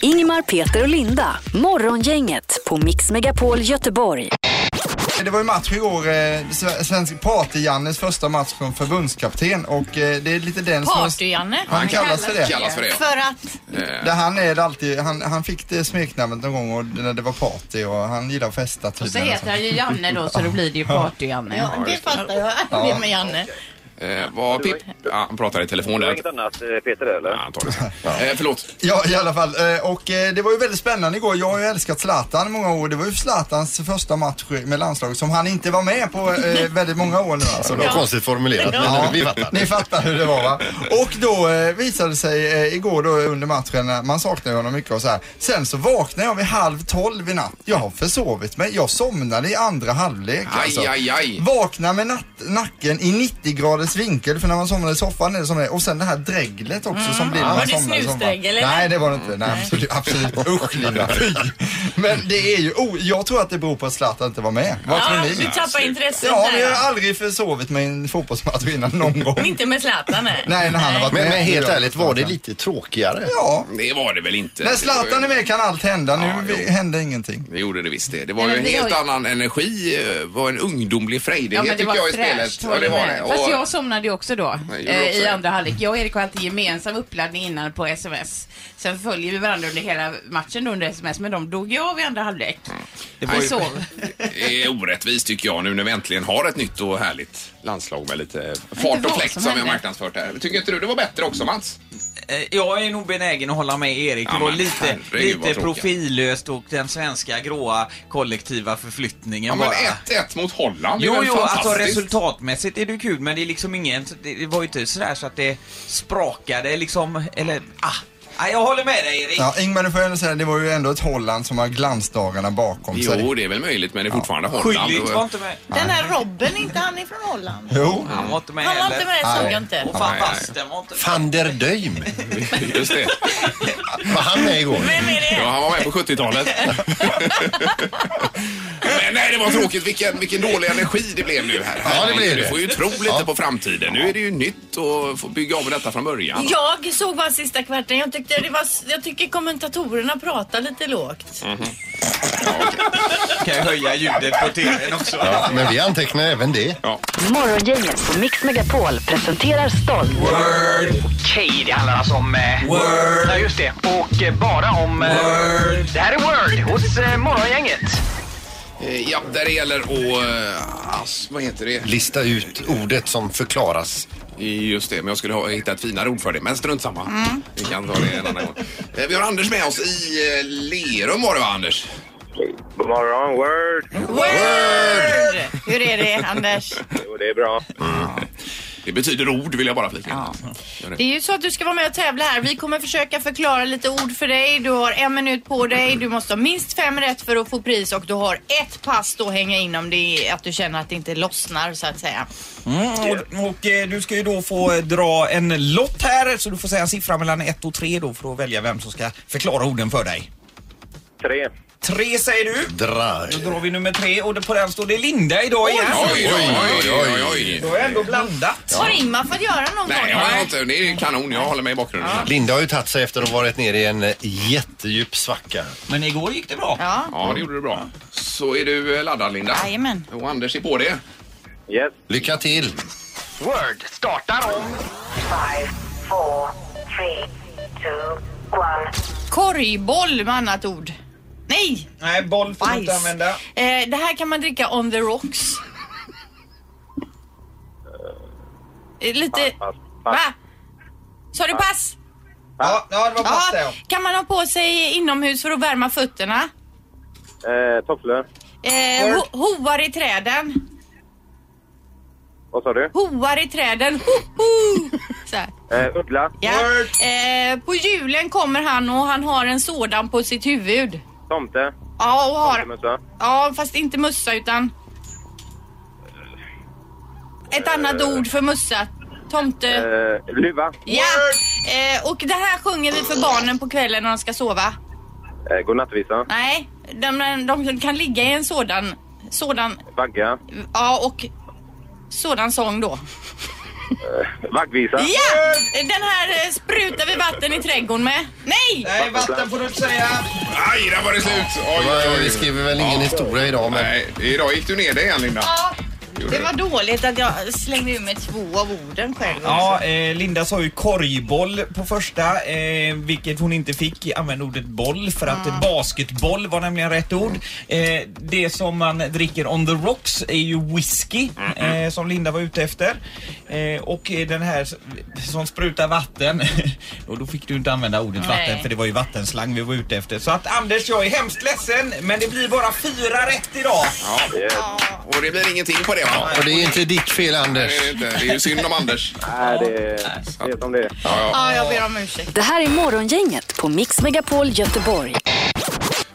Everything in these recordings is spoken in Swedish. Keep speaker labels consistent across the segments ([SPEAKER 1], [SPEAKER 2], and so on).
[SPEAKER 1] Ingemar, Peter och Linda. Morgongänget på Mix Megapol Göteborg.
[SPEAKER 2] Det var ju match igår, eh, sve- svensk Party-Jannes första match som förbundskapten och eh, det är lite den som...
[SPEAKER 3] Party-Janne.
[SPEAKER 2] Han kallas för det.
[SPEAKER 4] kallas för det.
[SPEAKER 3] För att
[SPEAKER 2] Där han är det alltid, han, han fick det smeknamnet någon gång och, när det var party och han gillar att festa
[SPEAKER 3] och så
[SPEAKER 2] tydligen. alltså.
[SPEAKER 3] heter han ju Janne då så då blir det ju Party-Janne. Ja, det fattar jag. Det är med Janne.
[SPEAKER 4] Eh, vad Pip... Ja, han pratar i telefon
[SPEAKER 5] Det var
[SPEAKER 4] där.
[SPEAKER 5] inget annat eh, Peter eller?
[SPEAKER 4] Ja, han tar det sen. Eh, förlåt.
[SPEAKER 2] Ja, i alla fall. Eh, Och eh, det var ju väldigt spännande igår. Jag har ju älskat Zlatan i många år. Det var ju Zlatans första match med landslaget som han inte var med på eh, väldigt många år nu alltså.
[SPEAKER 6] Det var konstigt formulerat, men vi fattar.
[SPEAKER 2] Ni fattar hur det var va? Och då eh, visade det sig eh, igår då under matchen, när man saknar ju honom mycket och så här. Sen så vaknade jag vid halv tolv i natt. Jag har försovit mig. Jag somnade i andra halvlek
[SPEAKER 4] Aj,
[SPEAKER 2] alltså.
[SPEAKER 4] aj, aj.
[SPEAKER 2] Vakna med natt, nacken i 90 graders vinkel för när man somnar i soffan är det som det är. Och sen det här dreglet också som blir när
[SPEAKER 3] Var
[SPEAKER 2] man
[SPEAKER 3] det
[SPEAKER 2] somnar i soffan.
[SPEAKER 3] Mm. snusdregel, eller?
[SPEAKER 2] Nej det var det inte. Nej, absolut, absolut. Usch Linda. Fy. Men det är ju, oh, jag tror att det beror på att Zlatan inte var med. Vad tror ni?
[SPEAKER 3] tappar intresset
[SPEAKER 2] Ja, men jag har aldrig försovit mig i en fotbollsmatch innan någon gång.
[SPEAKER 3] Inte med Zlatan nej.
[SPEAKER 2] Nej, när han har varit
[SPEAKER 6] Men,
[SPEAKER 2] med.
[SPEAKER 6] men helt
[SPEAKER 2] Ja.
[SPEAKER 6] ärligt, var det lite tråkigare?
[SPEAKER 2] Ja.
[SPEAKER 4] Det var det väl inte?
[SPEAKER 2] När Zlatan är med kan allt hända.
[SPEAKER 4] Ja,
[SPEAKER 2] Nu
[SPEAKER 4] jo.
[SPEAKER 2] hände ingenting.
[SPEAKER 4] Det gjorde det visst det. Det var
[SPEAKER 3] Nej,
[SPEAKER 4] ju en
[SPEAKER 3] men det
[SPEAKER 4] helt
[SPEAKER 3] var
[SPEAKER 4] annan energi. eh, var en ungdomlig frejdighet
[SPEAKER 3] Ja, men det
[SPEAKER 4] tycker
[SPEAKER 3] var
[SPEAKER 4] jag i
[SPEAKER 3] fräscht.
[SPEAKER 4] spelet.
[SPEAKER 3] håller
[SPEAKER 4] det var
[SPEAKER 3] med.
[SPEAKER 4] Och-
[SPEAKER 3] Fast jag somnade ju också då
[SPEAKER 4] Nej, gjorde
[SPEAKER 3] eh,
[SPEAKER 4] också
[SPEAKER 3] i
[SPEAKER 4] det.
[SPEAKER 3] andra halvlek. Jag och Erik har alltid gemensam uppladdning innan på sms. Sen följer vi varandra under hela matchen då under sms, men de dog ju av i andra halvlek.
[SPEAKER 4] var
[SPEAKER 3] Vi
[SPEAKER 4] ju-
[SPEAKER 3] sov.
[SPEAKER 4] Det är orättvist tycker jag nu när vi äntligen har ett nytt och härligt landslag med lite fart
[SPEAKER 3] vad
[SPEAKER 4] och fläkt
[SPEAKER 3] som
[SPEAKER 4] som, vi har
[SPEAKER 3] händer.
[SPEAKER 4] marknadsfört här. Tycker inte du det var bättre också Mats?
[SPEAKER 7] Eh, Jag är nog benägen att hålla med Erik.
[SPEAKER 4] Ja,
[SPEAKER 7] Det var
[SPEAKER 4] men
[SPEAKER 7] lite,
[SPEAKER 4] herregud, vad
[SPEAKER 7] lite
[SPEAKER 4] tråkiga.
[SPEAKER 7] profillöst och den svenska gråa kollektiva förflyttningen
[SPEAKER 4] Ja men
[SPEAKER 7] bara.
[SPEAKER 4] 1-1 mot Holland, det är
[SPEAKER 7] Jo,
[SPEAKER 4] väl
[SPEAKER 7] jo, alltså
[SPEAKER 4] fantastiskt?
[SPEAKER 7] resultatmässigt är det ju kul men det är liksom ingen, det det var ju inte sådär så att det sprakade liksom, eller ah. Nej, jag håller med dig Erik.
[SPEAKER 2] Ja, Ingmar, du får jag ändå säga, det var ju ändå ett Holland som har glansdagarna bakom sig.
[SPEAKER 4] Jo, det är väl möjligt men det är fortfarande Holland.
[SPEAKER 7] Skyldigt var inte med.
[SPEAKER 8] Den här Robben, inte han ifrån Holland?
[SPEAKER 2] Jo.
[SPEAKER 7] Han var inte med
[SPEAKER 8] Han var inte
[SPEAKER 7] heller.
[SPEAKER 8] med, såg jag inte.
[SPEAKER 7] Och
[SPEAKER 4] Nej, nej.
[SPEAKER 7] fantasten var inte med.
[SPEAKER 6] Van der Döjm,
[SPEAKER 4] Just det.
[SPEAKER 6] var han med igår?
[SPEAKER 8] Vem är det?
[SPEAKER 4] Ja, han var med på 70-talet. Men nej, det var tråkigt. Vilken, vilken dålig energi det blev nu här.
[SPEAKER 6] Ja, det blev
[SPEAKER 4] Du
[SPEAKER 6] det.
[SPEAKER 4] får ju tro lite på framtiden. Nu är det ju nytt och får bygga om detta från början.
[SPEAKER 8] Jag såg bara sista kvarten. Jag, tyckte det var, jag tycker kommentatorerna pratar lite lågt.
[SPEAKER 7] Kan jag höja ljudet på tvn också.
[SPEAKER 6] Ja, men vi antecknar även det.
[SPEAKER 1] Morgongänget på Mix Megapol presenterar stolt.
[SPEAKER 9] Okej, det handlar alltså om... Eh, Word! Ja, just det. Och eh, bara om... Eh, Word! Det här är Word hos eh, Morgongänget.
[SPEAKER 4] Eh, Ja, där det gäller och... eh, ass, Vad heter det?
[SPEAKER 6] Lista ut ordet som förklaras.
[SPEAKER 4] Just det, men jag skulle ha hittat ett finare ord för det. Men strunt samma. Vi kan ta det en annan gång. Eh, Vi har Anders med oss i eh, Lerum var det va, Anders?
[SPEAKER 5] God morgon, word!
[SPEAKER 3] Word! Hur är det Anders?
[SPEAKER 5] Jo, det är bra.
[SPEAKER 4] Det betyder ord vill jag bara flika in.
[SPEAKER 8] Det är ju så att du ska vara med och tävla här. Vi kommer försöka förklara lite ord för dig. Du har en minut på dig. Du måste ha minst fem rätt för att få pris och du har ett pass då att hänga in om det är att du känner att det inte lossnar så att säga.
[SPEAKER 7] Mm, och, och eh, du ska ju då få eh, dra en lott här så du får säga en siffra mellan 1 och 3 då för att välja vem som ska förklara orden för dig.
[SPEAKER 5] Tre.
[SPEAKER 7] 3 säger du.
[SPEAKER 6] Dra.
[SPEAKER 7] Då drar vi nummer 3 och på den står det Linda idag igen.
[SPEAKER 4] Oj, oj, oj, oj.
[SPEAKER 7] Då är ändå blandat.
[SPEAKER 8] Har Ingmar fått göra någon
[SPEAKER 4] Nej, jag
[SPEAKER 8] gång?
[SPEAKER 4] har inte. Det är kanon. Jag håller med i bakgrunden. Ja,
[SPEAKER 6] Linda har ju tagit sig efter att ha varit nere i en eh, jättedjup svacka.
[SPEAKER 7] Men igår gick det bra.
[SPEAKER 8] Ja.
[SPEAKER 4] det gjorde du bra. Så är du eh, laddad, Linda?
[SPEAKER 8] Jajamän.
[SPEAKER 4] Och Anders är på det.
[SPEAKER 5] Yes.
[SPEAKER 6] Lycka till!
[SPEAKER 9] Word startar om...
[SPEAKER 10] Five, four, three, two, one.
[SPEAKER 8] Korgboll med annat ord. Nej!
[SPEAKER 7] Nej, boll får du inte
[SPEAKER 8] Bajs.
[SPEAKER 7] använda.
[SPEAKER 8] Eh, det här kan man dricka on the rocks. Eh, Lite...
[SPEAKER 5] Pass.
[SPEAKER 8] Va?
[SPEAKER 5] Pass.
[SPEAKER 8] Sa du pass?
[SPEAKER 7] Ja, ja det var pass
[SPEAKER 8] Ja.
[SPEAKER 7] det.
[SPEAKER 8] Kan man ha på sig inomhus för att värma fötterna?
[SPEAKER 5] Eh, tofflor.
[SPEAKER 8] Eh, ho hoar i träden.
[SPEAKER 5] Vad sa du?
[SPEAKER 8] Hoar i träden. Ho -ho. Så här.
[SPEAKER 5] Eh, uggla.
[SPEAKER 8] Ja. Eh, på julen kommer han och han har en sådan på sitt huvud.
[SPEAKER 5] Tomte.
[SPEAKER 8] Ja, och har,
[SPEAKER 5] Tomtemössa.
[SPEAKER 8] ja fast inte mössa utan... Ett annat ord för mössa. Tomte.
[SPEAKER 5] Eh, luva.
[SPEAKER 8] Ja! Eh, och det här sjunger vi för barnen på kvällen när de ska sova.
[SPEAKER 5] Eh, godnattvisa.
[SPEAKER 8] Nej, de, de kan ligga i en sådan, sådan,
[SPEAKER 5] Vagga.
[SPEAKER 8] ja och sådan sång då.
[SPEAKER 5] Eh, Vaggvisa.
[SPEAKER 8] Ja! Den här eh, sprutar vi vatten i trädgården med. Nej!
[SPEAKER 7] Nej, vatten får du inte säga.
[SPEAKER 4] Aj, där var det slut! Oj,
[SPEAKER 6] Det var-
[SPEAKER 4] oj, oj.
[SPEAKER 6] vi skriver väl ingen historia idag, men-
[SPEAKER 4] Nej, idag gick du ner dig igen, Linda.
[SPEAKER 8] Ja,
[SPEAKER 4] Gjorde
[SPEAKER 8] det
[SPEAKER 4] du.
[SPEAKER 8] var dåligt att jag slängde ur mig två av orden själv.
[SPEAKER 7] Ja, eh, Linda sa ju korgboll på första, eh, vilket hon inte fick. Använde ordet boll för att basketboll var nämligen rätt ord. Eh, det som man dricker on the rocks är ju whisky, eh, som Linda var ute efter. Eh, och eh, den här s- som sprutar vatten, och då fick du inte använda ordet
[SPEAKER 8] Nej.
[SPEAKER 7] vatten för det var ju vattenslang vi var ute efter. Så att Anders, jag är hemskt ledsen, men det blir bara fyra rätt idag.
[SPEAKER 5] Yes.
[SPEAKER 4] Och det blir ingenting på det, va?
[SPEAKER 6] Och det är inte ditt fel, Anders.
[SPEAKER 4] Nej, det är inte. Det är ju synd om Anders.
[SPEAKER 5] Nej, det, det är som det är.
[SPEAKER 8] Ja, jag ber om ursäkt.
[SPEAKER 1] Det här är Morgongänget på Mix Megapol Göteborg.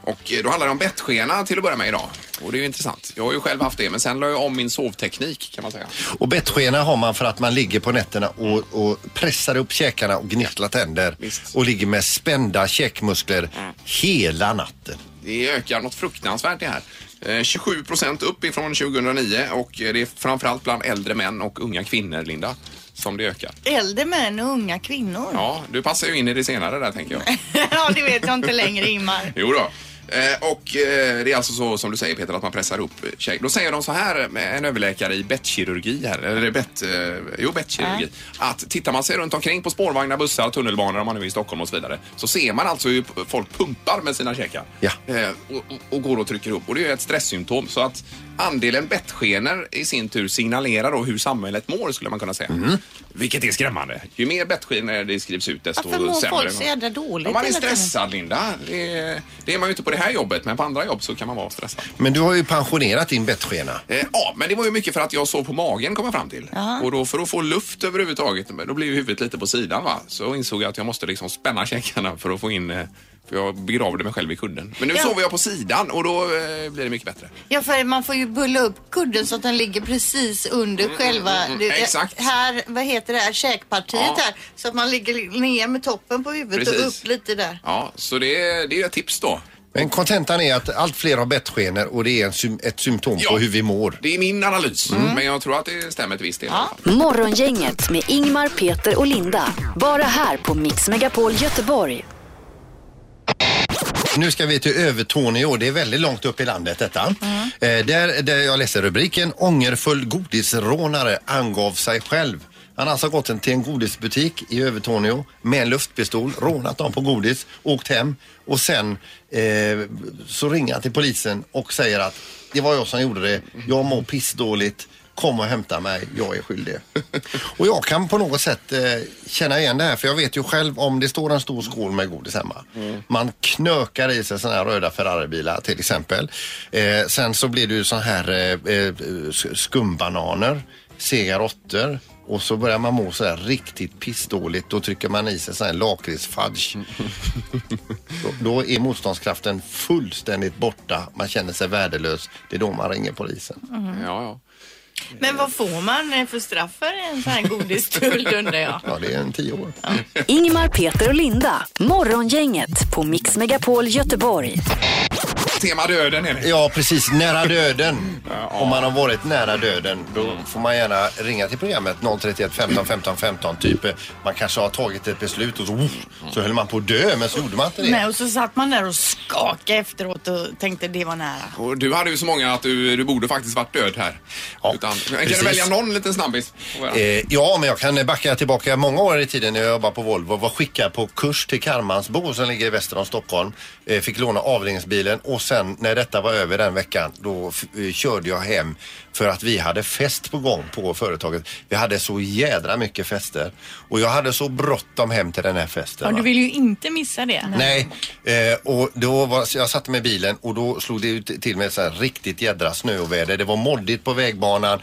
[SPEAKER 4] Och eh, då handlar det om bettskena till att börja med idag. Och det är ju intressant. Jag har ju själv haft det, men sen la jag om min sovteknik kan man säga.
[SPEAKER 6] Och bettskena har man för att man ligger på nätterna och, och pressar upp käkarna och gnisslar tänder.
[SPEAKER 4] Visst.
[SPEAKER 6] Och ligger med spända käkmuskler
[SPEAKER 2] Mm.
[SPEAKER 6] hela natten.
[SPEAKER 4] Det ökar något fruktansvärt det här. Eh, 27 procent upp ifrån 2009 och eh, det är framförallt bland äldre män och unga kvinnor, Linda, som det ökar.
[SPEAKER 8] Äldre män och unga kvinnor. Ja,
[SPEAKER 4] Ja, du passar ju in i det senare där tänker jag.
[SPEAKER 8] det vet jag inte längre Ingmar.
[SPEAKER 4] Jo då. Eh, Och eh, det är alltså så som du säger Peter att man pressar upp eh, käk. Då säger de så här med en överläkare i bettkirurgi här, eller bett, eh, jo bettkirurgi, att tittar man sig runt omkring på spårvagnar, bussar, tunnelbanor om man nu är i Stockholm och så vidare, så ser man alltså hur p- folk pumpar med sina käkar.
[SPEAKER 6] Ja.
[SPEAKER 4] Eh, Och, och, och går och trycker upp och det är ju ett stresssymptom så att andelen bettskenor i sin tur signalerar då hur samhället mår skulle man kunna säga. Vilket är skrämmande. Ju mer bettskenor det skrivs ut desto
[SPEAKER 8] Varför mår
[SPEAKER 4] sämre.
[SPEAKER 8] folk så jädra dåligt
[SPEAKER 4] Ja, man är
[SPEAKER 8] hela tiden?
[SPEAKER 4] stressad Linda. Det är, det är man ju inte på det här jobbet men på andra jobb så kan man vara stressad.
[SPEAKER 6] Men du har ju pensionerat din bettskena.
[SPEAKER 4] Eh, ja, men det var ju mycket för att jag sov på magen kom jag fram till. Och då för att få luft överhuvudtaget, men då blev ju huvudet lite på sidan va. Så insåg jag att jag måste liksom spänna käkarna för att få in eh, för jag begravde mig själv i kudden. Men nu
[SPEAKER 8] Ja.
[SPEAKER 4] sover jag på sidan och då eh, blir det mycket bättre.
[SPEAKER 8] Ja, för man får ju bulla upp kudden så att den ligger precis under själva...
[SPEAKER 4] mm,
[SPEAKER 8] det-
[SPEAKER 4] exakt.
[SPEAKER 8] Här, vad heter det här, käkpartiet
[SPEAKER 4] Ja.
[SPEAKER 8] här. Så att man ligger ner med toppen på huvudet och
[SPEAKER 4] Precis.
[SPEAKER 8] upp lite där.
[SPEAKER 4] Ja, så det, är- det är ju ett tips då.
[SPEAKER 6] Men kontentan är att allt fler har bettskenor och det är en sym- ett symptom
[SPEAKER 4] Ja.
[SPEAKER 6] på hur vi mår.
[SPEAKER 4] Det är min analys,
[SPEAKER 8] Mm.
[SPEAKER 4] men jag tror att det stämmer till viss del. Ja.
[SPEAKER 1] Morgongänget med Ingmar, Peter och Linda. Bara här på Mix Megapol Göteborg.
[SPEAKER 6] Nu ska vi till Övertorneå. Det är väldigt långt upp i landet detta. Eh, där, där jag läser rubriken Ångerfull godisrånare angav sig själv. Han har alltså gått en- till en godisbutik i Övertorneå med en luftpistol, rånat dem på godis, åkt hem och sen eh, så ringer han till polisen och säger att det var jag som gjorde det. Jag mår pissdåligt. Kom och hämta mig, jag är skyldig. Och jag kan på något sätt eh, känna igen det här för jag vet ju själv om det står en stor skål med godis hemma. Man knökar i sig sådana här röda Ferraribilar till exempel. Eh, sen så blir det ju sådana här eh, eh, sk- skumbananer, sega råttor och så börjar man må så här riktigt pissdåligt. Då trycker man i sig sån här lakritsfudge. Då- Då är motståndskraften fullständigt borta. Man känner sig värdelös. Det är då man ringer polisen.
[SPEAKER 4] Ja, ja.
[SPEAKER 8] Men vad får man eh, för straff för en sån här godisstöld undrar jag?
[SPEAKER 6] Ja, det är en tio år.
[SPEAKER 1] Ingmar, Peter och Linda. Morgongänget på Mix Megapol Göteborg.
[SPEAKER 4] Tema döden är det.
[SPEAKER 6] Ja, precis. Nära döden. Om man har varit nära döden, då får man gärna ringa till programmet 031 15 15 15. Typ, eh, man kanske har tagit ett beslut och så, oh, så höll man på att dö, men så gjorde man inte det.
[SPEAKER 8] Nej, och så satt man där och skakade efteråt och tänkte det var nära.
[SPEAKER 4] Och du hade ju så många att du, du borde faktiskt varit död här.
[SPEAKER 6] Ja,
[SPEAKER 4] Utan, kan
[SPEAKER 6] precis.
[SPEAKER 4] du välja någon liten snabbis?
[SPEAKER 6] Eh, ja, men jag kan backa tillbaka många år i tiden när jag jobbade på Volvo. Var skickad på kurs till Karmansbo som ligger väster om Stockholm. Eh, fick låna avdelningsbilen och sen när detta var över den veckan då f- eh, körde jag hem för att vi hade fest på gång på företaget. Vi hade så jädra mycket fester och jag hade så bråttom hem till den här festen.
[SPEAKER 8] Ja,
[SPEAKER 6] va.
[SPEAKER 8] du vill ju inte missa det.
[SPEAKER 6] Nej, eh, och då var, så jag satte mig i bilen och då slog det ut till med så här riktigt jädra snöoväder. Det var moddigt på vägbanan.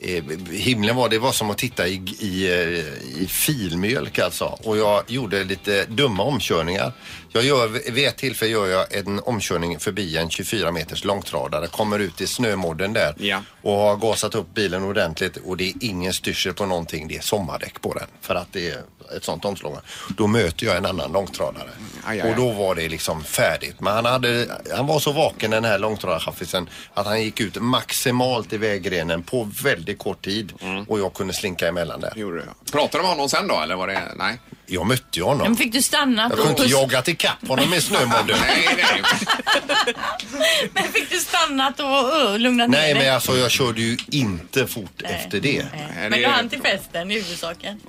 [SPEAKER 6] Eh, himlen var, det var som att titta i, i, eh, i filmjölk alltså. Och jag gjorde lite dumma omkörningar. Jag gör, vid ett tillfälle gör jag en omkörning förbi en 24 meters långtradare, kommer ut i snömodden där och har gasat upp bilen ordentligt och det är ingen styrsel på någonting. Det är sommardäck på den för att det är ett sånt omslag. Då möter jag en annan långtradare
[SPEAKER 4] aj, aj.
[SPEAKER 6] och då var det liksom färdigt. Men han, hade, han var så vaken den här långtradarchaffisen att han gick ut maximalt i vägrenen på väldigt kort tid
[SPEAKER 4] Mm.
[SPEAKER 6] och jag kunde slinka emellan där.
[SPEAKER 4] Gjorde du? Pratade du med honom sen då eller var det, nej?
[SPEAKER 6] Jag mötte ju honom.
[SPEAKER 8] Men fick du stanna?
[SPEAKER 6] Jag kunde inte
[SPEAKER 8] Puss.
[SPEAKER 6] jaga ikapp honom med snömodden.
[SPEAKER 8] Men fick du stannat och ö, lugnat
[SPEAKER 6] Nej
[SPEAKER 8] ner dig?
[SPEAKER 6] men alltså jag körde ju inte fort
[SPEAKER 8] Nej,
[SPEAKER 6] efter det.
[SPEAKER 8] nej. Men du hann till festen i huvudsaken.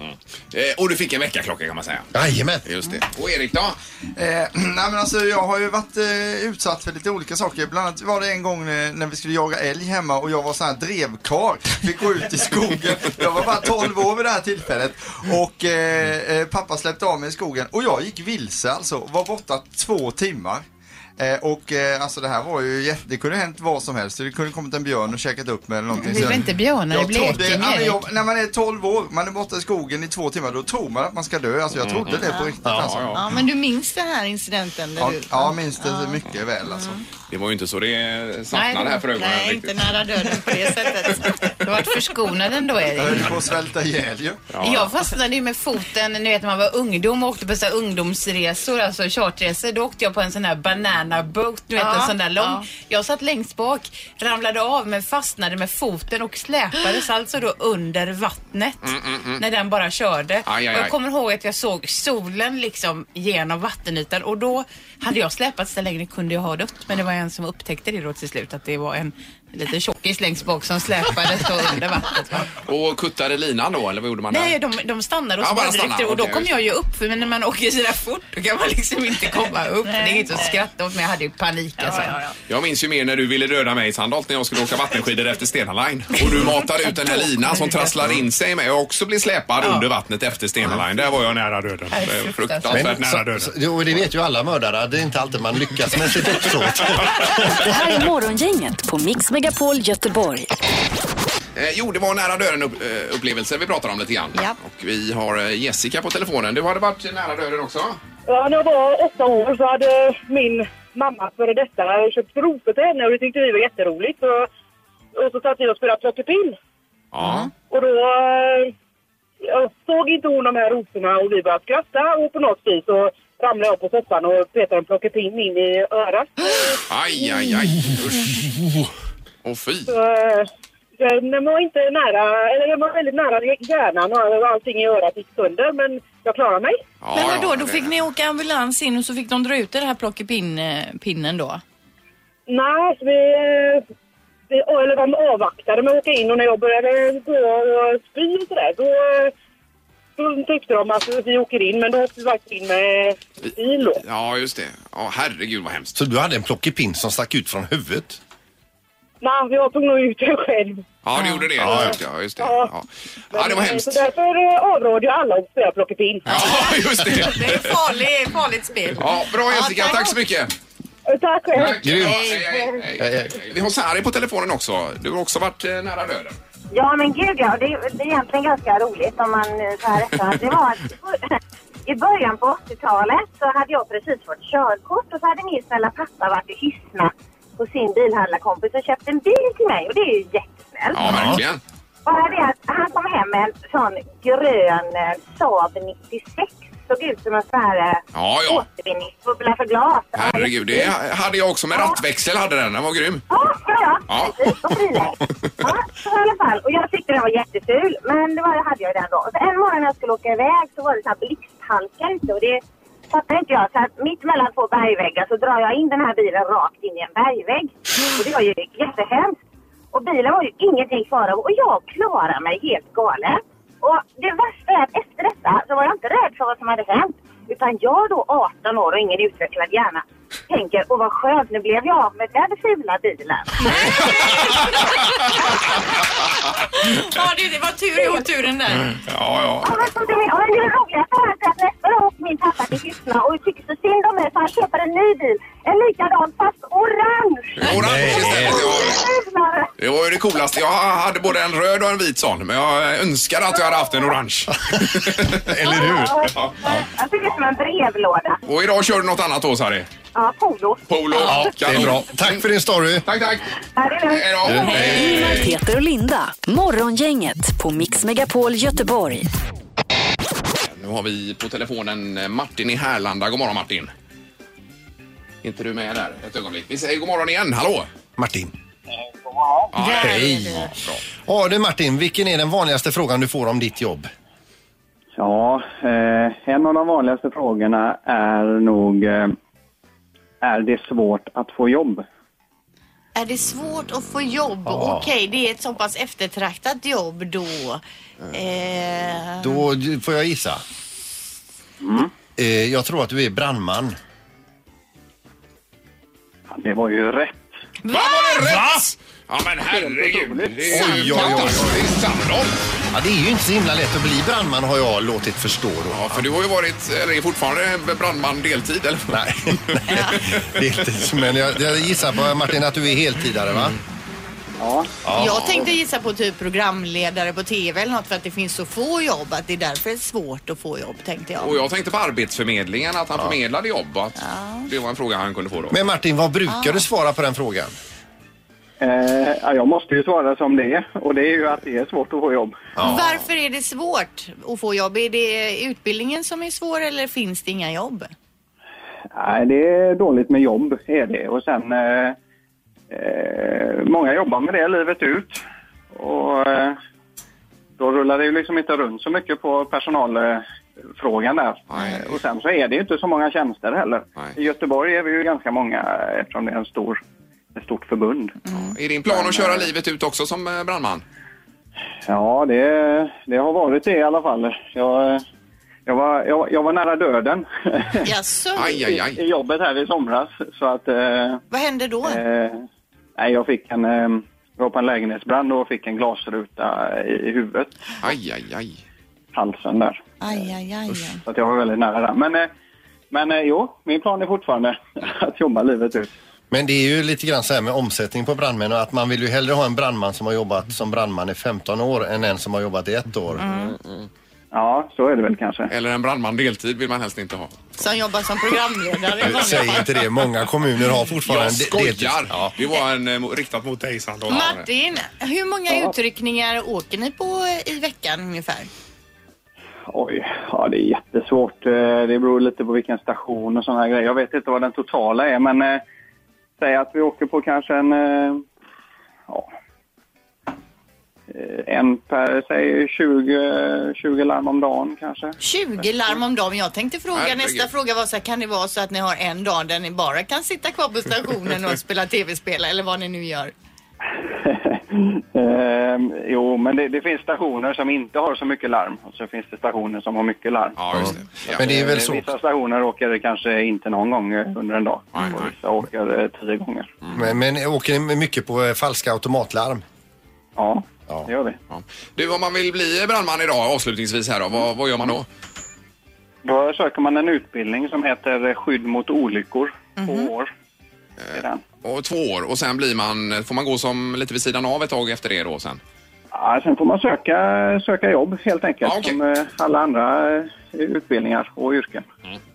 [SPEAKER 4] Eh, Och du fick en veckaklocka kan man säga.
[SPEAKER 6] Jajamän.
[SPEAKER 4] Just det. Och Erik då?
[SPEAKER 2] Eh, nej men alltså jag har ju varit eh, utsatt för lite olika saker. Bland annat var det en gång eh, när vi skulle jaga älg hemma och jag var sån här drevkar. Fick gå ut i skogen. Jag var bara 12 år vid det här tillfället. Och eh, eh, pappa släppte av mig i skogen och jag gick vilse alltså. Var borta två timmar. Eh, och eh, alltså det här var ju jätte, det kunde hänt vad som helst. Det kunde kommit en björn och käkat upp mig eller någonting.
[SPEAKER 11] Det är väl
[SPEAKER 2] Så-
[SPEAKER 11] inte björnar i
[SPEAKER 2] Jag trodde-
[SPEAKER 11] Blekinge,
[SPEAKER 2] ja, men jag-
[SPEAKER 11] Erik?
[SPEAKER 2] När man är 12 år, man är borta i skogen i två timmar, då tror man att man ska dö. Alltså jag trodde det på riktigt
[SPEAKER 4] Ja,
[SPEAKER 2] alltså.
[SPEAKER 4] ja.
[SPEAKER 8] Ja, men du minns den här incidenten? Där
[SPEAKER 2] Ja,
[SPEAKER 8] du...
[SPEAKER 2] ja minns det mycket väl alltså.
[SPEAKER 4] Det var ju inte så det svartnade här för ögonen
[SPEAKER 8] Nej,
[SPEAKER 4] riktigt.
[SPEAKER 8] inte nära döden på det sättet.
[SPEAKER 11] Du har varit förskonad ändå
[SPEAKER 2] Jag
[SPEAKER 11] Erik.
[SPEAKER 2] höll på att svälta ihjäl ju.
[SPEAKER 11] Jag fastnade ju med foten, ni vet när man var ungdom och åkte på så här ungdomsresor, alltså charterresor. Då åkte jag på en sån här banana boat, du vet
[SPEAKER 8] Ja,
[SPEAKER 11] en sån där lång.
[SPEAKER 8] ja.
[SPEAKER 11] Jag satt längst bak, ramlade av men fastnade med foten och släpades alltså då under vattnet.
[SPEAKER 4] Mm, mm, mm.
[SPEAKER 11] När den bara körde.
[SPEAKER 4] aj,
[SPEAKER 11] Och
[SPEAKER 4] aj.
[SPEAKER 11] jag kommer ihåg att jag såg solen liksom genom vattenytan och då hade jag släpats där längre kunde jag ha dött. Men det var en som upptäckte det då till slut att det var en liten tjockis längst bak som släpades då under vattnet. Va?
[SPEAKER 4] Och kuttade linan då eller vad gjorde man där?
[SPEAKER 11] Nej, de, de stannade och
[SPEAKER 4] Ja,
[SPEAKER 11] så
[SPEAKER 4] bara
[SPEAKER 11] bara
[SPEAKER 4] stannar,
[SPEAKER 11] stannar, och då
[SPEAKER 4] okej,
[SPEAKER 11] kom
[SPEAKER 4] just
[SPEAKER 11] jag ju upp. För när man åker sådär fort då kan man liksom inte komma upp. det är inte att skratta åt men jag hade ju panik alltså.
[SPEAKER 4] Jag minns ju mer när du ville döda mig i Sandholt när jag skulle åka vattenskidor efter Stena Line. Och du matar ut den här linan som trasslar in sig med och också blir släpad under vattnet efter Stena Line. Där var jag nära döden.
[SPEAKER 11] Nej,
[SPEAKER 4] Det är
[SPEAKER 11] fruktansvärt.
[SPEAKER 4] Fruktansvärt nära döden.
[SPEAKER 6] så, jo, det vet ju alla mördare. Det är inte alltid man lyckas med sitt uppsåt.
[SPEAKER 1] Det här är Morgongänget på Mix Megapol Göteborg.
[SPEAKER 4] Eh, jo, det var nära döden upp, eh, upplevelse vi pratade om lite grann.
[SPEAKER 1] Ja.
[SPEAKER 4] Och vi har eh, Jessica på telefonen. Du hade varit nära döden också?
[SPEAKER 12] Ja, när jag var åtta år så hade min mamma före detta köpt rosor till henne och det tyckte vi var jätteroligt. Och, och så satt vi och spelade plockepinn.
[SPEAKER 4] Ja.
[SPEAKER 12] Och då eh, jag såg inte hon de här rosorna och vi började skratta och på något vis så ramlade jag på soffan och petade en plockepinn in i örat.
[SPEAKER 4] Aj, aj, aj. Usch. Åh, fy.
[SPEAKER 12] Så, eh, den var inte nära, eller den var väldigt nära hjärnan och allting i örat gick sönder men jag klarade mig.
[SPEAKER 8] Men vadå, då fick ni åka ambulans in och så fick de dra ut den här
[SPEAKER 11] eh,
[SPEAKER 8] plockepinnen då?
[SPEAKER 12] Nej, vi, vi, eller de avvaktade med att åka in och när jag började gå och spy och sådär då, då tyckte de att vi åker in men då åkte vi faktiskt in med bil då.
[SPEAKER 4] Ja, just det. Ja, herregud vad hemskt.
[SPEAKER 6] Så du hade en plockepinn som stack ut från huvudet?
[SPEAKER 12] Nej, jag tog nog ut den själv.
[SPEAKER 4] Ja, du gjorde det.
[SPEAKER 6] Ja, ja.
[SPEAKER 4] Ja, just det. Ja. Ja, det var hemskt.
[SPEAKER 12] Så därför eh, avråder jag alla att spela plockepinn.
[SPEAKER 4] Ja, just det.
[SPEAKER 11] Det är farligt, farligt spel.
[SPEAKER 4] Ja, bra Jessica. Tack så mycket.
[SPEAKER 12] Tack själv.
[SPEAKER 4] Ja, hej, hej, hej. Vi har Sari på telefonen också. Du har också varit eh, nära döden.
[SPEAKER 13] Ja, men gud ja. Det, är- det är egentligen ganska roligt om man eh, så här efterhand. Det var att i början på 80-talet så hade jag precis fått körkort och så hade min snälla pappa varit i Hyssna hos sin bilhandlarkompis och köpt en bil till mig och det är ju jättesnällt.
[SPEAKER 4] Ja, verkligen.
[SPEAKER 13] Bara det att han kom hem med en sån grön eh, Saab 96. Såg ut som en sån här eh,
[SPEAKER 4] Ja, ja.
[SPEAKER 13] återvinningsbubbla för glas.
[SPEAKER 4] Herregud, det hade jag också med rattväxel. hade Den Den var grym.
[SPEAKER 13] Ja, ja, ja.
[SPEAKER 4] Ja.
[SPEAKER 13] Precis, och frilägg. Ja, så i alla fall. Och jag tyckte den var jätteful, men det var, hade jag ju den då. Så en morgon när jag skulle åka iväg så var det så här blixthalka ute och det fattade inte jag. Så här, mitt mellan två bergväggar så drar jag in den här bilen rakt in i en bergvägg. Och det var ju jättehemskt. Och bilen var ju ingenting kvar av och jag klarade mig helt galen. Och det värsta är att efter detta så var jag inte rädd för vad som hade hänt. Utan jag då 18 år och ingen utvecklad hjärna tänker åh vad skönt nu blev jag av med den fula bilen.
[SPEAKER 8] Ja, du, det var tur i oturen där.
[SPEAKER 4] Ja, ja.
[SPEAKER 13] Ja, men som du menar, men det är roligt för att nästa dag åkte min pappa till Hyssna och tyckte så synd om mig så han köper en ny bil. En likadan fast orange.
[SPEAKER 4] Orange istället.
[SPEAKER 13] Fulare.
[SPEAKER 4] Det var ju det coolaste. Jag hade både en röd och en vit sån, men jag önskar att jag hade haft en orange. Eller hur? Ja.
[SPEAKER 13] Jag ser ut som en brevlåda.
[SPEAKER 4] Och idag kör du något annat då, Sari?
[SPEAKER 13] Ja, polo.
[SPEAKER 4] Polo?
[SPEAKER 6] Ja, det är bra. Tack för din story.
[SPEAKER 4] Tack, tack.
[SPEAKER 13] Ja, det är lugnt.
[SPEAKER 1] Ingemar, Peter och Linda. Morgongänget på Mix Megapol Göteborg.
[SPEAKER 4] Nu har vi på telefonen eh, Martin i Härlanda. God morgon Martin. Inte du med där ett ögonblick. Vi säger god morgon igen. Hallå!
[SPEAKER 6] Martin.
[SPEAKER 4] Ja,
[SPEAKER 6] Hej. Ja du Martin, vilken är den vanligaste frågan du får om ditt jobb?
[SPEAKER 5] Ja, eh, en av de vanligaste frågorna är nog, eh, är det svårt att få jobb?
[SPEAKER 8] Är det svårt att få jobb?
[SPEAKER 5] Ja.
[SPEAKER 8] Okej, det är ett så pass eftertraktat jobb då. Eh,
[SPEAKER 6] Då får jag gissa. Eh, Jag tror att du är brandman.
[SPEAKER 5] Det var ju rätt.
[SPEAKER 4] Va? Var det rätt? Ja men herregud. Det är
[SPEAKER 6] Oj,
[SPEAKER 4] ju
[SPEAKER 6] oj, oj.
[SPEAKER 4] fantastiskt samtal.
[SPEAKER 6] Ja, det är ju inte så himla lätt att bli brandman har jag låtit förstå då.
[SPEAKER 4] Ja, för du har ju varit, eller är fortfarande brandman deltid eller?
[SPEAKER 6] Nej. Deltids, men jag, jag gissar på Martin att du är heltidare va?
[SPEAKER 5] Ja.
[SPEAKER 8] Jag tänkte gissa på typ programledare på TV eller något för att det finns så få jobb att det är därför det är svårt att få jobb tänkte jag.
[SPEAKER 4] Och jag tänkte på Arbetsförmedlingen, att han förmedlade jobb. Att Det var en fråga han kunde få då.
[SPEAKER 6] Men Martin, vad brukar du svara på den frågan?
[SPEAKER 5] Eh, ja, jag måste ju svara som det är och det är ju att det är svårt att få jobb.
[SPEAKER 8] Varför är det svårt att få jobb? Är det utbildningen som är svår eller finns det inga jobb?
[SPEAKER 5] Nej, det är dåligt med jobb är det och sen eh, eh, många jobbar med det livet ut och eh, då rullar det ju liksom inte runt så mycket på personalfrågan där. Eh, Och sen så är det ju inte så många tjänster heller. I Göteborg är vi ju ganska många eh, eftersom det är en stor, ett stort förbund.
[SPEAKER 4] Är din plan att köra livet ut också som eh, brandman?
[SPEAKER 5] Ja, det, det har varit det i alla fall. Jag, eh, jag, var, jag, jag var nära döden
[SPEAKER 8] Jaså?
[SPEAKER 4] Aj, aj, aj.
[SPEAKER 5] i jobbet här i somras. Så att, eh,
[SPEAKER 8] Vad hände då?
[SPEAKER 5] eh, nej, jag fick en, eh, jag var på en lägenhetsbrand och fick en glasruta eh, i, i huvudet.
[SPEAKER 4] Aj, aj, aj.
[SPEAKER 5] Halsen där.
[SPEAKER 8] Aj, aj, aj.
[SPEAKER 5] Så att jag var väldigt nära där. Men, eh, men eh, jo, min plan är fortfarande att jobba livet ut.
[SPEAKER 6] Men det är ju lite grann så här med omsättning på brandmän och att man vill ju hellre ha en brandman som har jobbat som brandman i 15 år än en som har jobbat i ett år.
[SPEAKER 5] Ja, så är det väl kanske.
[SPEAKER 4] Eller en brandman deltid vill man helst inte ha.
[SPEAKER 8] Som jobbar som programledare i vanliga
[SPEAKER 6] Säg
[SPEAKER 8] fall.
[SPEAKER 6] inte det, många kommuner har fortfarande
[SPEAKER 4] Jag
[SPEAKER 6] de-
[SPEAKER 4] skojar! Det var en eh, mo- riktat mot dig Sandra.
[SPEAKER 8] Martin, hur många utryckningar åker ni på i veckan ungefär?
[SPEAKER 5] Oj, ja, det är jättesvårt. Eh, Det beror lite på vilken station och sådana här grejer. Jag vet inte vad den totala är, men eh, säg att vi åker på kanske en... Eh, ja, eh, en per, säg 20, 20 larm om dagen kanske.
[SPEAKER 8] 20 larm om dagen. Jag tänkte fråga,
[SPEAKER 5] Herregud.
[SPEAKER 8] nästa fråga var så här, kan det vara så att ni har en dag där ni bara kan sitta kvar på stationen och spela tv-spel eller vad ni nu gör?
[SPEAKER 5] Ehm, jo, men det, det finns stationer som inte har så mycket larm och så finns det stationer som har mycket larm.
[SPEAKER 4] Ja, just
[SPEAKER 6] Ja. Men det är väl
[SPEAKER 5] Eh,
[SPEAKER 6] så-
[SPEAKER 5] Vissa stationer åker det kanske inte någon gång eh, under en dag. Och vissa åker eh, tio gånger.
[SPEAKER 6] Men, men åker ni mycket på eh, falska automatlarm?
[SPEAKER 5] Ja, det gör vi.
[SPEAKER 4] Du, om man vill bli brandman idag avslutningsvis här då, vad, vad gör man då?
[SPEAKER 5] Då söker man en utbildning som heter eh, Skydd mot olyckor. Två år.
[SPEAKER 6] Eh.
[SPEAKER 5] är den.
[SPEAKER 4] Och två år och sen blir man, får man gå som lite vid sidan av ett tag efter det då sen?
[SPEAKER 5] Ja, sen får man söka, söka jobb helt enkelt, som eh, alla andra eh, utbildningar och yrken.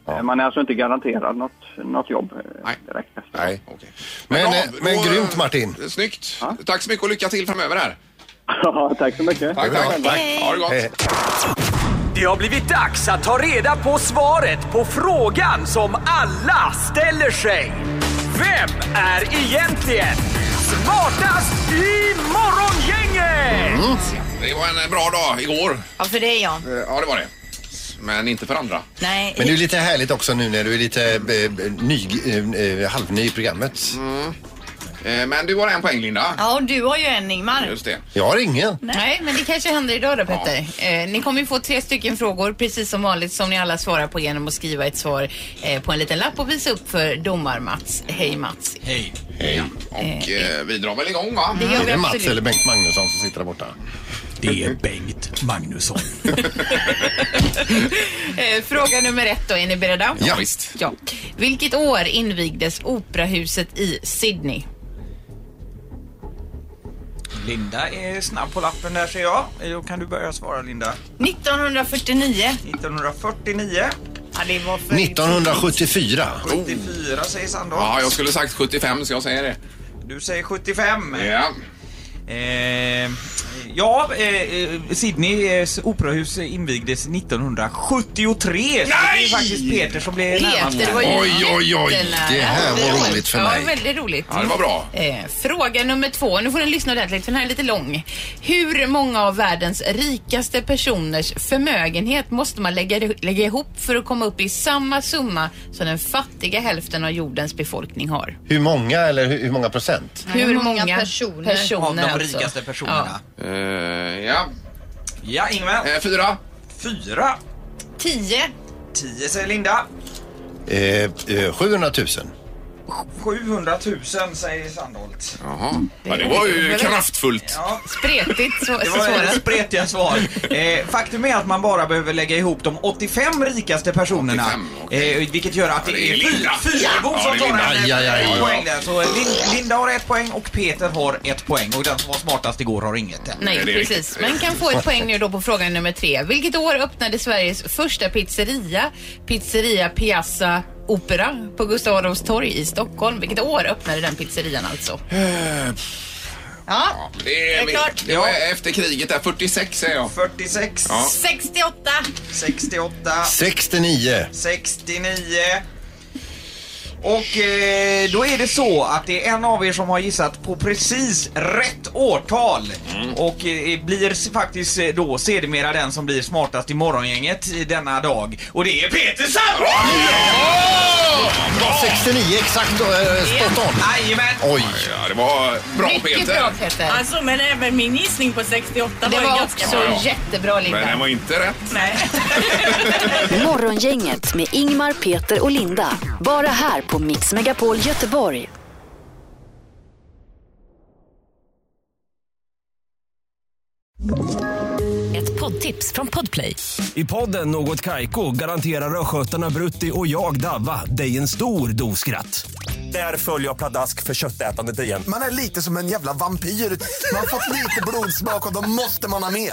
[SPEAKER 5] Eh, Man är alltså inte garanterad något, något jobb eh, direkt efter.
[SPEAKER 6] Mm. Nej. Men, eh, men grymt Martin.
[SPEAKER 4] Snyggt! Tack så mycket och lycka till framöver här.
[SPEAKER 5] Ja, tack så mycket.
[SPEAKER 4] Tack, tack. tack. Ha det
[SPEAKER 6] Eh,
[SPEAKER 4] gott.
[SPEAKER 14] Det har blivit dags att ta reda på svaret på frågan som alla ställer sig. Vem är egentligen smartast i Morgongänget?
[SPEAKER 4] Det var en bra dag igår.
[SPEAKER 8] Ja, för dig ja.
[SPEAKER 4] Eh, Ja, det var det. Men inte för andra.
[SPEAKER 8] Nej.
[SPEAKER 6] Men det är lite härligt också nu när du är lite eh, ny, eh, eh, halvny i programmet.
[SPEAKER 4] Mm. Eh, Men du har en poäng Linda.
[SPEAKER 8] Ja, och du har ju en Ingmar.
[SPEAKER 4] Just det.
[SPEAKER 6] Jag har ingen.
[SPEAKER 11] Nej, men det kanske händer idag då Petter. Eh, ni kommer ju få tre stycken frågor precis som vanligt som ni alla svarar på genom att skriva ett svar eh, på en liten lapp och visa upp för domar-Mats. Hej Mats.
[SPEAKER 4] Hej. Hej. Och eh, vi drar väl igång va?
[SPEAKER 11] Det gör vi
[SPEAKER 6] Är det Mats
[SPEAKER 11] absolut.
[SPEAKER 6] eller Bengt Magnusson som sitter där borta? Det är Bengt Magnusson.
[SPEAKER 11] Eh, fråga nummer ett då, är ni beredda?
[SPEAKER 6] Ja, visst.
[SPEAKER 11] Ja. Vilket år invigdes operahuset i Sydney?
[SPEAKER 7] Linda är snabb på lappen där ser jag. Då kan du börja svara Linda.
[SPEAKER 8] 1949.
[SPEAKER 7] 1949.
[SPEAKER 8] Ja, det var för...
[SPEAKER 6] 1974.
[SPEAKER 7] 74 säger Sandholt.
[SPEAKER 4] Ja, jag skulle sagt 75 så jag säger det.
[SPEAKER 7] Du säger 75.
[SPEAKER 4] Ja.
[SPEAKER 7] Eh, ja, eh, eh, Sydneys operahus invigdes 1973. Nej! Så det är faktiskt Peter som blir närmast.
[SPEAKER 11] Peter, det var ju jättenära. Ja,
[SPEAKER 7] Ja,
[SPEAKER 11] väldigt roligt.
[SPEAKER 7] Ja, det var bra.
[SPEAKER 11] Eh, fråga nummer två. Nu får ni lyssna ordentligt för den här är lite lång. Hur många av världens rikaste personers förmögenhet måste man lägga, lägga ihop för att komma upp i samma summa som den fattiga hälften av jordens befolkning har?
[SPEAKER 6] Hur många eller hur, hur många procent?
[SPEAKER 11] Hur många personer?
[SPEAKER 7] Av de
[SPEAKER 11] alltså.
[SPEAKER 7] rikaste personerna.
[SPEAKER 4] Eh, ja. Eh,
[SPEAKER 7] Ja, Ingmar.
[SPEAKER 4] fyra.
[SPEAKER 7] Fyra.
[SPEAKER 8] 10.
[SPEAKER 7] 10 säger Linda.
[SPEAKER 6] Eh, eh, 700 000.
[SPEAKER 7] 700 000 säger Sandholt.
[SPEAKER 4] Jaha. Ja, det var ju kraftfullt.
[SPEAKER 7] Ja.
[SPEAKER 11] Spretigt så,
[SPEAKER 7] Det
[SPEAKER 11] så
[SPEAKER 7] var
[SPEAKER 11] svarat.
[SPEAKER 7] spretiga svar. Eh, faktum är att man bara behöver lägga ihop de 85 rikaste personerna. eh, vilket gör att det,
[SPEAKER 4] det är
[SPEAKER 7] är
[SPEAKER 4] Linda.
[SPEAKER 7] Fy- Fyrebo
[SPEAKER 4] Ja,
[SPEAKER 7] som
[SPEAKER 4] det är
[SPEAKER 7] tar
[SPEAKER 4] Linda.
[SPEAKER 7] en-
[SPEAKER 4] Aj, aj, aj.
[SPEAKER 7] en poäng där. Så eh, Lin- Linda har ett poäng och Peter har ett poäng. Och den som var smartast igår har inget än.
[SPEAKER 11] Nej, precis. Men kan få ett poäng nu då på fråga nummer tre. Vilket år öppnade Sveriges första pizzeria, Pizzeria Piazza Opera, på Gustav Adolfs torg i Stockholm? Vilket år öppnade den pizzerian alltså? Ja,
[SPEAKER 4] Det, är klart. det var efter kriget där. 46 säger jag.
[SPEAKER 7] 46.
[SPEAKER 4] Ja.
[SPEAKER 8] 68.
[SPEAKER 7] 68.
[SPEAKER 6] 69.
[SPEAKER 7] 69. Och eh, då är det så att det är en av er som har gissat på precis rätt årtal. Och eh, blir s- faktiskt eh, då sedermera den som blir smartast i morgongänget i denna dag. Och det är Peter Sandholt!
[SPEAKER 6] Var 69 exakt då, eh, spot on?
[SPEAKER 7] Jajamän!
[SPEAKER 6] Oj.
[SPEAKER 4] Ja, det var bra Peter.
[SPEAKER 11] Peter.
[SPEAKER 8] Alltså, men även min gissning på 68
[SPEAKER 11] Det
[SPEAKER 8] var, ju
[SPEAKER 11] var
[SPEAKER 8] ganska
[SPEAKER 11] också
[SPEAKER 8] bra.
[SPEAKER 11] jättebra Linda.
[SPEAKER 4] Men den var inte rätt.
[SPEAKER 1] Morgongänget med Ingmar, Peter och Linda. Bara här på Mix Megapol Göteborg.
[SPEAKER 15] Ett poddtips från Podplay.
[SPEAKER 16] I podden Något Kaiko garanterar östgötarna Brutti och jag, Davva, dig en stor dos skratt. Där följer jag pladask för köttätandet igen.
[SPEAKER 17] Man är lite som en jävla vampyr. Man har fått lite blodsmak och då måste man ha mer.